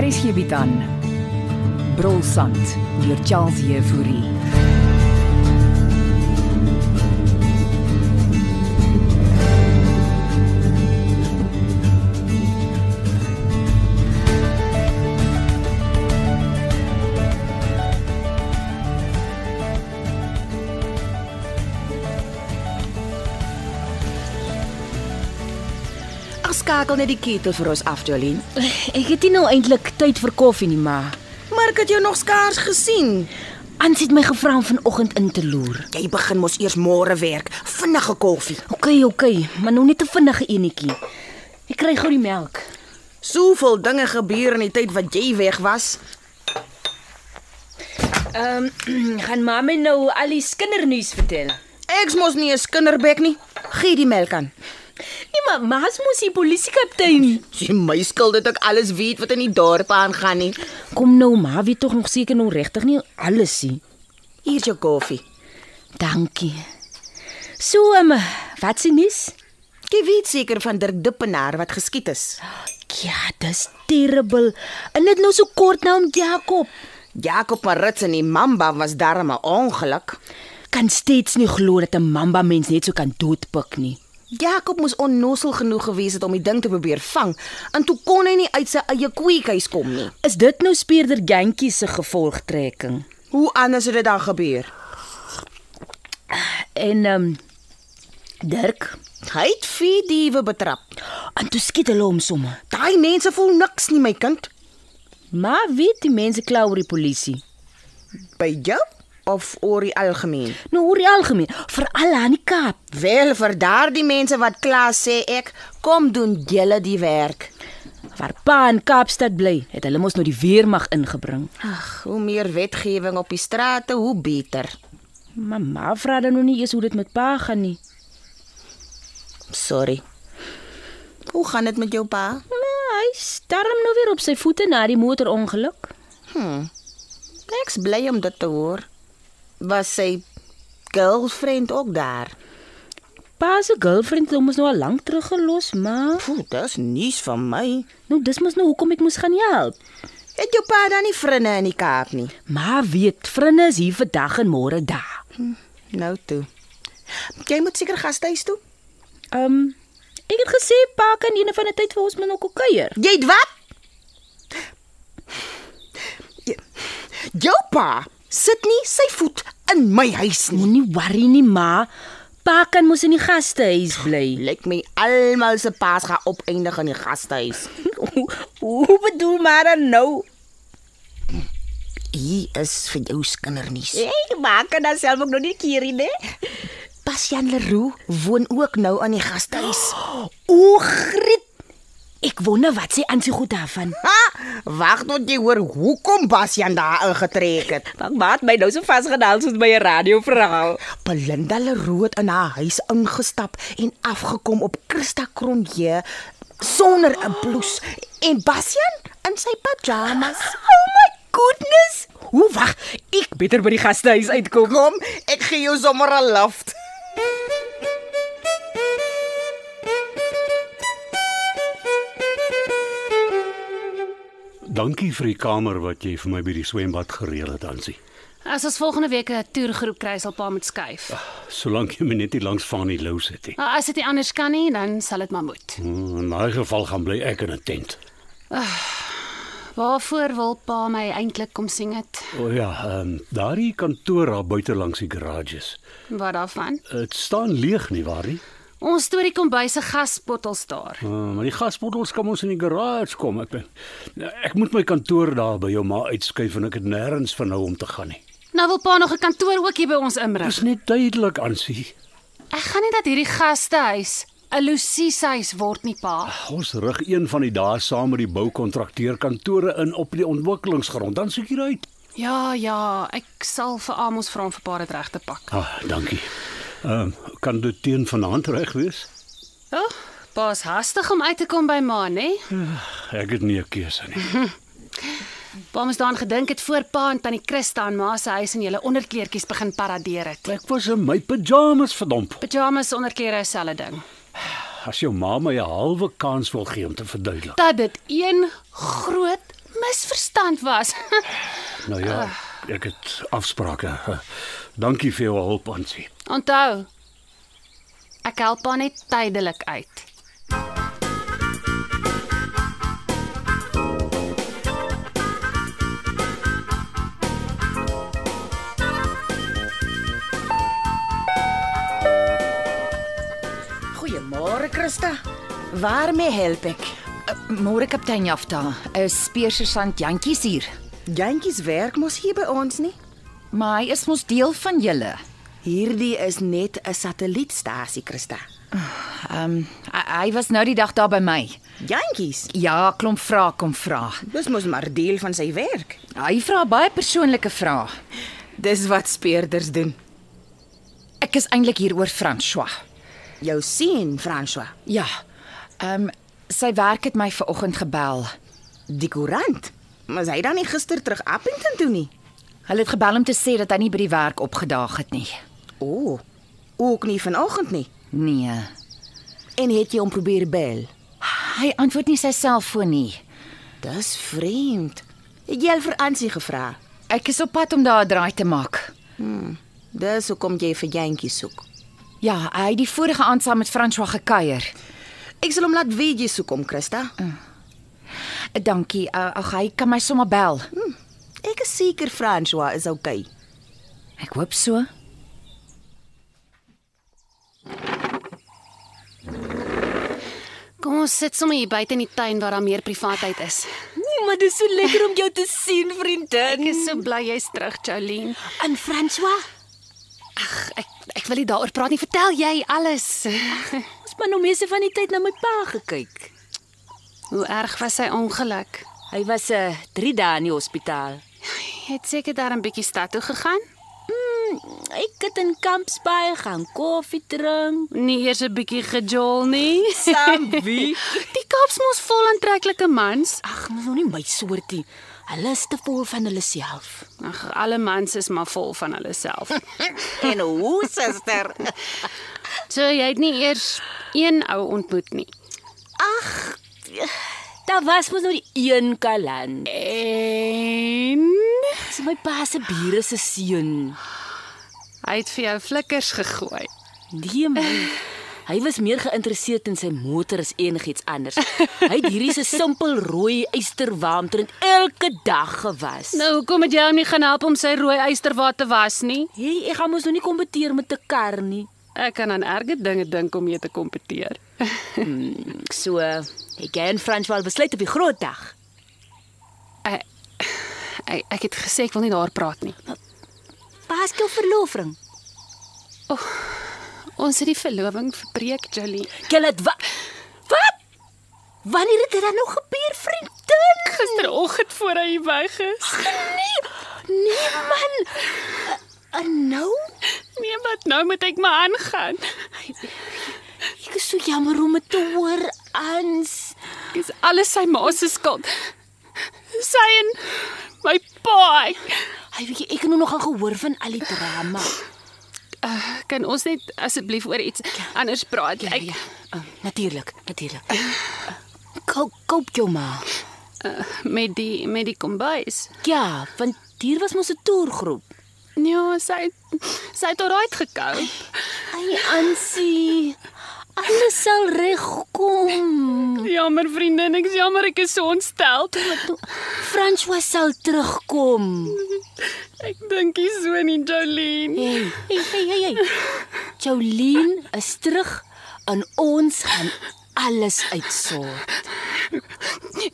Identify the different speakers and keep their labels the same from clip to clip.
Speaker 1: Hier is hierby dan. Brolsand deur Charles Euphorie.
Speaker 2: Afskakel net die ketel vir ons af, Jolien.
Speaker 3: Ek het nie nou eintlik tyd vir koffie nie, maar
Speaker 2: Maar ek het jou nog skaars gesien.
Speaker 3: Ans het my gevra om vanoggend in te loer.
Speaker 2: Jy begin mos eers môre werk. Vinnige koffie.
Speaker 3: OK, OK, maar nou net 'n vinnige enetjie. Ek kry gou die melk.
Speaker 2: Soveel dinge gebeur in die tyd wat jy weg was.
Speaker 3: Ehm, um, gaan ma my nou al die kindernuus vertel.
Speaker 2: Ek's mos nie 'n skinderbek nie. Gee die melk aan.
Speaker 3: Nee, maar ma's mos die polisiekaptein.
Speaker 2: Sy my skuld dat ek alles weet wat in die dorp aangaan nie.
Speaker 3: Kom nou, ma, weet tog nog seker nou regtig nie alles nie.
Speaker 2: Hier's jou koffie.
Speaker 3: Dankie. So, um, wat se nuus?
Speaker 2: Jy weet seker van Dirk Dippenaar wat geskiet is.
Speaker 3: Ja, dis terrible. En dit nou so kort na om Jakob.
Speaker 2: Jakob Marits en die Mamba was darm 'n ongeluk.
Speaker 3: Kan steeds nie glo dat 'n mamba mens net so kan doodpik nie.
Speaker 2: Jakob moes onnosel genoeg gewees het om die ding te probeer vang, en toe kon hy nie uit sy eie kweekhuis kom nie.
Speaker 3: Is dit nou speerder Jantjie se gevolgtrekking?
Speaker 2: Hoe anders het dit dan gebeur?
Speaker 3: En ehm um, Dirk,
Speaker 2: Hy het vier diewe betrap.
Speaker 3: en toe skiet hulle hom somme.
Speaker 2: Daai mense voel niks nie, my kind.
Speaker 3: Maar weet die mense kla oor die polisie.
Speaker 2: By jou of oor die algemeen?
Speaker 3: Nou oor die algemeen, veral aan die Kaap.
Speaker 2: Wel vir daardie mense wat klaar sê ek, kom doen julle die werk.
Speaker 3: Waar pa in Kaapstad bly, het hulle mos nou die weermag ingebring.
Speaker 2: Ag, hoe meer wetgewing op die strate, hoe beter.
Speaker 3: Mamma vra dan nog nie eers hoe dit met pa gaan nie.
Speaker 2: Sorry. Hoe gaan dit met jou pa?
Speaker 3: Maar hy starm nou weer op sy voete na die motorongeluk.
Speaker 2: Hm. Ek's bly om dit te hoor. Was sy girlfriend ook daar?
Speaker 3: Pa se girlfriend het hom mos nou al lank terug gelos, maar
Speaker 2: Pfoe, dis nuus van my.
Speaker 3: nou dis mos nou hoekom ek moes gaan help.
Speaker 2: Het jou pa dan nie vriende in die Kaap nie?
Speaker 3: Maar weet, vriende is hier vandag en môre daar.
Speaker 2: Nou toe. Jy moet seker gastehuis toe.
Speaker 3: Ehm um, ek het gesê pa kan eendag van 'n tyd vir ons moet nog kuier.
Speaker 2: Jy het wat? J- Jou pa sit nie sy voet in my huis nie.
Speaker 3: Moenie worry nie, ma. Pa kan mos in die gastehuis bly.
Speaker 2: Lyk my almal se paas gaan opeindig in die gastehuis.
Speaker 3: Hoe bedoel maar dan nou?
Speaker 2: Hier is vir jou skindernuus.
Speaker 3: Hey, ma kan dan self ook nog nie keer nie.
Speaker 2: Bastian Leroux woon ook nou aan die gastehuis.
Speaker 3: O, Griet. Ek wonder wat sy aan sy goed daarvan.
Speaker 2: Ha! Wag tot jy hoor hoekom Bastian daar ingetrek het.
Speaker 3: Maak maat my nou so vasgedaal soos by 'n radioverhaal.
Speaker 2: Belinda Leroux het in haar huis ingestap en afgekom op Christa Cronje sonder 'n blouse en Bastian in sy pyjamas.
Speaker 3: Oh my goodness. Hoe wag, ek beter by die gastehuis uitkom.
Speaker 2: Kom, ek gee jou sommer 'n lift.
Speaker 4: Dankie vir die kamer wat jy vir my by die swembad gereël het, Ansie.
Speaker 5: As ons volgende week 'n toergroep kry, sal pa moet skuif.
Speaker 4: Solank jy my net nie langs van die lou sit nie.
Speaker 5: Maar as dit nie anders kan nie, dan sal dit maar moet.
Speaker 4: Hmm, In daai geval gaan bly ek in 'n tent.
Speaker 5: Waarvoor wil pa my eintlik kom sien dit?
Speaker 4: O oh, ja, ehm um, daardie kantoor daar buite langs die garages.
Speaker 5: Wat daarvan?
Speaker 4: Dit staan leeg nie waar nie?
Speaker 5: Ons storie kom by se gasbottels daar.
Speaker 4: Uh, maar die gasbottels kan ons in die garage kom. Ek ek moet my kantoor daar by jou ma uitskuif en ek het nêrens van nou om te gaan nie.
Speaker 5: Nou wil pa nog 'n kantoor ook hier by ons
Speaker 4: Dis
Speaker 5: inrig.
Speaker 4: net tydelik, Ansie.
Speaker 5: Ek gaan nie dat hierdie gastehuis 'n lusieshuis word nie, pa.
Speaker 4: Ons rig een van die dae saam met die boukontrakteur kantore in op die ontwikkelingsgrond. Dan soek jy uit.
Speaker 5: Ja, ja, ek sal vir Amos vra om vir pa dit reg te pak.
Speaker 4: Ah, dankie. Ehm um, kan dit teen vanaand reg wees?
Speaker 5: Ja, oh, pa is hastig om uit te kom by ma, nê?
Speaker 4: ek het nie 'n keuse nie.
Speaker 5: Pa moes daaraan gedink het voor pa en tannie Christa aan ma se huis in julle onderkleertjies begin paradeer het.
Speaker 4: Ek was in my pyjamas verdomp.
Speaker 5: Pyjamas onderklere is selfe ding.
Speaker 4: As jou ma my 'n halwe kans wil gee om te verduidelik.
Speaker 5: Dat dit een groot misverstand was.
Speaker 4: Nou ja, ek het afsprake. Dankie vir jou hulp, Ansie.
Speaker 5: Onthou, ek help pa net tydelik uit.
Speaker 2: Goeiemôre, Christa. Waarmee help ek?
Speaker 1: Môre kaptein Jafta, 'n speursersant Jantjie is hier,
Speaker 2: Jantjies werk mos hier by ons nie.
Speaker 1: maar hy is mos deel van julle.
Speaker 2: Hierdie is net 'n satellietstasie, Christa.
Speaker 1: Ehm um, hy, hy was nou die dag daar by my.
Speaker 2: Jantjies,
Speaker 1: Ja, klomp vrae kom vra.
Speaker 2: dis mos maar deel van sy werk.
Speaker 1: Hy vra baie persoonlike vrae.
Speaker 2: Dis wat speerders doen.
Speaker 1: Ek is eintlik hier oor François.
Speaker 2: Jou seun, François,
Speaker 1: Ja. Ehm um, sy werk het my vanoggend gebel.
Speaker 2: die koerant. Was hy dan nie gister terug Appington toe nie?
Speaker 1: Hulle het gebel om te sê dat hy nie by die werk opgedaag het nie.
Speaker 2: O, oh, ook nie vanoggend nie.
Speaker 1: Nee.
Speaker 2: En het jy hom probeer bel?
Speaker 1: Hy antwoord nie sy selfoon nie.
Speaker 2: Dis vreemd. Het jy al vir Ansie gevra?
Speaker 1: Ek is op pad om daar 'n draai te maak.
Speaker 2: Dis hoekom jy vir Jantjie soek.
Speaker 1: Ja, hy het die vorige aand saam met François gekuier.
Speaker 2: Ek sal hom laat weet jy soek hom, Christa.
Speaker 1: Dankie. uh, Ag, hy kan my sommer bel.
Speaker 2: Ek is seker François is okay.
Speaker 1: Ek hoop so.
Speaker 5: Kom ons sit sommer hier buite in die tuin waar daar meer privaatheid is.
Speaker 3: Ooh, maar dis so lekker om jou te sien, vriendin.
Speaker 5: Ek is so bly jy's terug, Jolene.
Speaker 3: in François.
Speaker 5: Ag, ek ek wil nie daaroor praat nie. Vertel jy alles.
Speaker 3: Ons man nou meeste van die tyd na my pa gekyk.
Speaker 5: Hoe erg was sy ongeluk?
Speaker 3: Hy was 'n uh, 3 dae in die hospitaal.
Speaker 5: Jy het seker daar 'n bietjie stad toe gegaan?
Speaker 3: Ek het in Kampsbaai gaan koffie drink.
Speaker 5: Nie eers 'n bietjie gejol nie.
Speaker 3: Saam wie?
Speaker 5: Die Kaap's mos vol aantreklike mans.
Speaker 3: Ag, mos nou nie my soortie. Hulle is te vol van hulle self.
Speaker 5: Ag, alle mans is maar vol van hulle self.
Speaker 2: En hoe, suster?
Speaker 5: So jy het nie eers een ou ontmoet nie.
Speaker 3: Daar was mos nou die een kalan.
Speaker 5: En
Speaker 3: Dis my pa se bure se seun.
Speaker 5: hy het vir jou flikkers gegooi.
Speaker 3: Nee man. Hy was meer geïnteresseerd in sy motor as enigiets anders. Hy het hierdie se simpel rooi eysterwaam drink elke dag gewas.
Speaker 5: Nou hoekom het jy hom nie gaan help om sy rooi eysterwaad te was nie?
Speaker 3: Hey, ek gaan mos nou nie kompeteer met 'n kar nie.
Speaker 5: Ek kan aan erge dinge dink om mee te kompeteer.
Speaker 3: Ek so, ek gaan Franswaal besluit op die groot dag.
Speaker 5: Ek, ek ek het gesê ek wil nie daar praat nie.
Speaker 3: Paskel verloofring.
Speaker 5: Ons het die verloving verbreek, Jolie.
Speaker 3: Jy het wat? Wat? Wanneer het dit dan nog gebeur, vriendin?
Speaker 5: Gisteroggend voor hy weg is.
Speaker 3: Nee, nee man. En nou,
Speaker 5: Nee, wat nou moet ek maar aangaan?
Speaker 3: ek is so jammer om dit te hoor, Ans.
Speaker 5: Dis alles sy ma se skuld. Sy en my pa. Ek,
Speaker 3: Hy weet jy, ek het nou nog aan gehoor van al die drama.
Speaker 5: uh, kan ons net asseblief oor iets anders praat?
Speaker 3: Ja,
Speaker 5: Ek
Speaker 3: ja. Uh, natuurlik, natuurlik. Koop koop jou maar.
Speaker 5: uh, met die met die kombuis.
Speaker 3: Ja, want hier was mos 'n toergroep.
Speaker 5: Ja, sy sy het alraai gekou.
Speaker 3: Ai Ansie, alles sal regkom.
Speaker 5: Jammer vriendin, ek is jammer ek is so ontstel.
Speaker 3: François sal terugkom.
Speaker 5: Ek dink nie so nie, Jolene.
Speaker 3: Hey, hey, hey, hey. hey. Jolien is terug en ons gaan alles uitsort.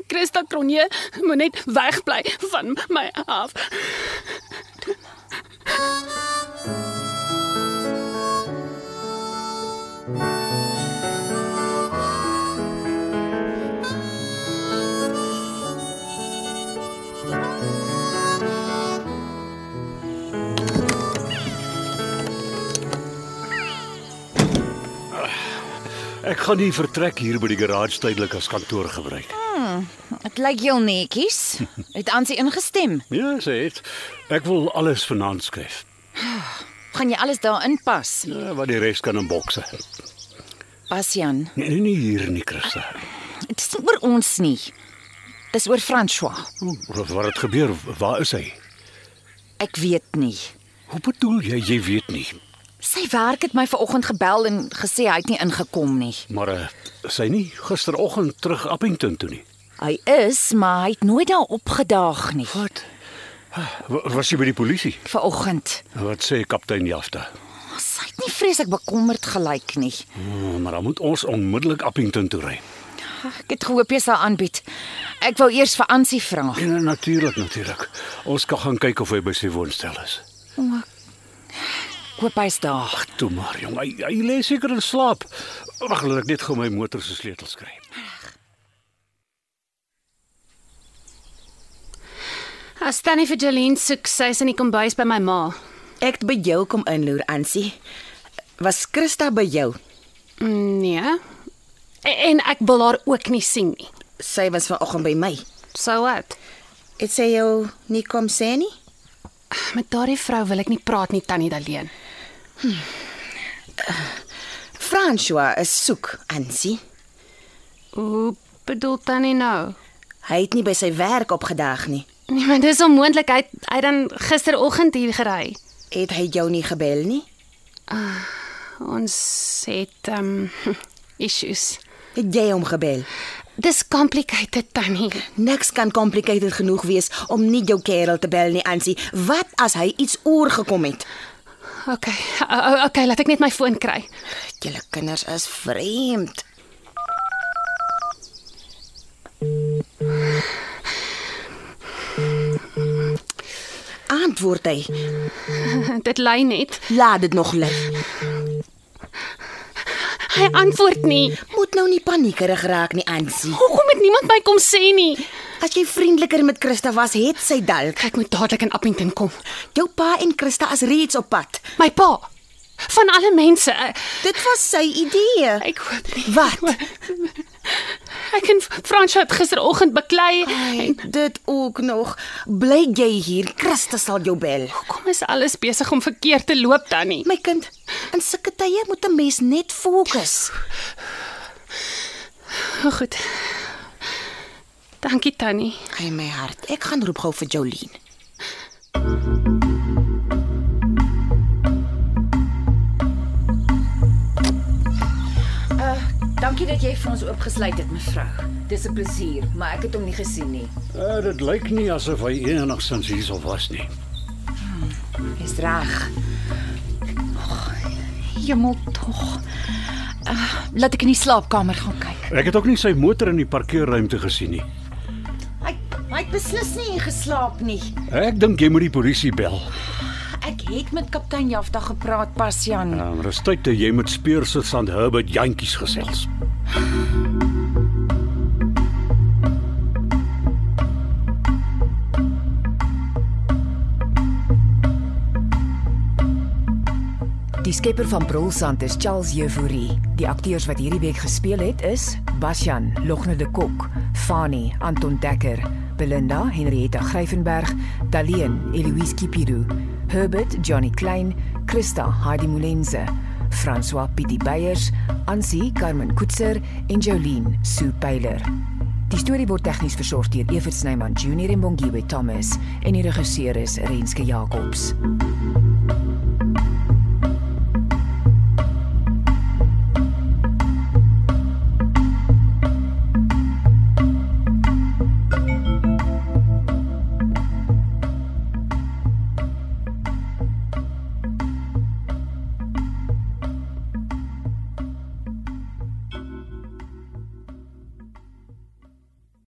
Speaker 5: Christa Cronje moet net wegbly van my af.
Speaker 4: Ek gaan die vertrek hier by die garage tydelik as kantoor gebruik.
Speaker 6: Dit lyk heel netjies. Het Ansie ingestem.
Speaker 4: Ja, sê dit. Ek wil alles vanaand skryf.
Speaker 6: Gaan jy alles daarin pas?
Speaker 4: Ja, wat die res kan in bokse.
Speaker 6: Basjan,
Speaker 4: Nee, nee, nie hier nie, Christa.
Speaker 6: dit is nie oor ons nie. Dis oor François.
Speaker 4: Wat wat het gebeur? Waar is hy?
Speaker 6: Ek weet nie.
Speaker 4: Hoe bedoel jy jy weet nie?
Speaker 6: Sy werk het my vanoggend gebel en gesê hy het nie ingekom nie.
Speaker 4: Maar uh, sy nie gisteroggend terug Appington toe nie.
Speaker 6: Hy is, maar hy het nooit daar opgedaag nie.
Speaker 4: Wat? Was jy by die polisie?
Speaker 6: Vanoggend.
Speaker 4: Wat sê kaptein Jafta?
Speaker 6: Sy het nie vreeslik bekommerd gelyk nie.
Speaker 4: Oh, maar dan moet ons onmiddellik Appington toe ry.
Speaker 6: Ek het gehoop jy sal aanbied. Ek wou eers vir Ansie vra.
Speaker 4: En natuurlik, natuurlik. Ons kan gaan kyk of hy by sy woonstel is.
Speaker 6: Koop hy's daar.
Speaker 4: Ag, toe maar, jong. Hy, hy lê seker in slaap. Wag, laat ek net gou my motor se sleutels kry.
Speaker 5: As Tannie vir Jolene soek, sy's in die kombuis by my ma.
Speaker 2: Ek het by jou kom inloer, Ansie. Was Christa by jou?
Speaker 5: Nee. E- En ek wil haar ook nie sien nie.
Speaker 2: Sy was vanoggend by my.
Speaker 5: So wat?
Speaker 2: Het sy jou nie kom sê nie?
Speaker 5: Met daardie vrou wil ek nie praat nie, Tannie Daleen.
Speaker 2: François is soek, Ansie.
Speaker 5: Hoe bedoel Tannie nou?
Speaker 2: Hy het nie by sy werk opgedaag nie.
Speaker 5: Nee, maar dis onmoontlik. Hy het- hy het dan gisteroggend hier gery.
Speaker 2: Het hy jou nie gebel nie?
Speaker 5: Ons het um issues.
Speaker 2: Het jy hom gebel?
Speaker 5: Dis complicated, Tannie.
Speaker 2: Niks kan complicated genoeg wees om nie jou kerel te bel nie, Ansie. Wat as hy iets oorgekom het?
Speaker 5: Okay. O- o- Okay, laat ek net my foon kry.
Speaker 2: Julle kinders is vreemd. Antwoord hy.
Speaker 5: Dit lei net.
Speaker 2: Laat dit nog lê.
Speaker 5: Hy antwoord nie.
Speaker 2: Moet nou nie paniekerig raak nie, Ansie.
Speaker 5: Hoekom het niemand my kom sê nie?
Speaker 2: As jy vriendeliker met Christa was, het sy dalk.
Speaker 5: Ek moet dadelik in Appington kom.
Speaker 2: Jou pa en Christa is reeds op pad.
Speaker 5: My pa. Van alle mense. Ek-
Speaker 2: Dit was sy idee.
Speaker 5: Ek hoop nie.
Speaker 2: Wat?
Speaker 5: Ek en Fransjo het gisteroggend beklei.
Speaker 2: Ai, Dit ook nog. Bly jy hier, Christa sal jou bel.
Speaker 5: Hoekom is alles besig om verkeerd te loop tannie?
Speaker 2: My kind, in sulke tye moet 'n mens net fokus.
Speaker 5: O, Goed. Dankie tannie.
Speaker 2: Ai my hart, ek gaan roep gou vir Jolene.
Speaker 1: Dankie dat jy vir ons oopgesluit het, mevrou. Dis 'n plesier, maar ek het hom nie gesien nie.
Speaker 4: Uh, dit lyk nie asof hy enigsins hier sal was nie.
Speaker 1: Dis reg.
Speaker 6: Hemel tog. Uh, laat ek in die slaapkamer gaan kyk.
Speaker 4: Ek het ook nie sy motor in die parkeerruimte gesien nie.
Speaker 6: Hy hy het beslis nie geslaap nie.
Speaker 4: Ek dink jy moet die polisie bel.
Speaker 6: Ek het met kaptein Jafta gepraat, Pasjan.
Speaker 4: Ja, maar dis tyd dat jy met Speursus aan Herbert jantjies gesels.
Speaker 1: Die skepper van Brolsand is Charles Jefouri. Die akteurs wat hierdie week gespeel het is Basjan, Logne de Kok, Fani, Anton Dekker, Belinda, Henrietta Gryvenberg, Daleen, Eloise Kipiru, Herbert, Johnny Klein, Christa, Heidi Molense, François Pietie Beyers, Ansie, Carmen Koetser en Jolene Sue Pyler. Die storie word tegnies versorg deur Evert Snyman Junior en Bongwe Thomas en die regisseur is Renske Jacobs.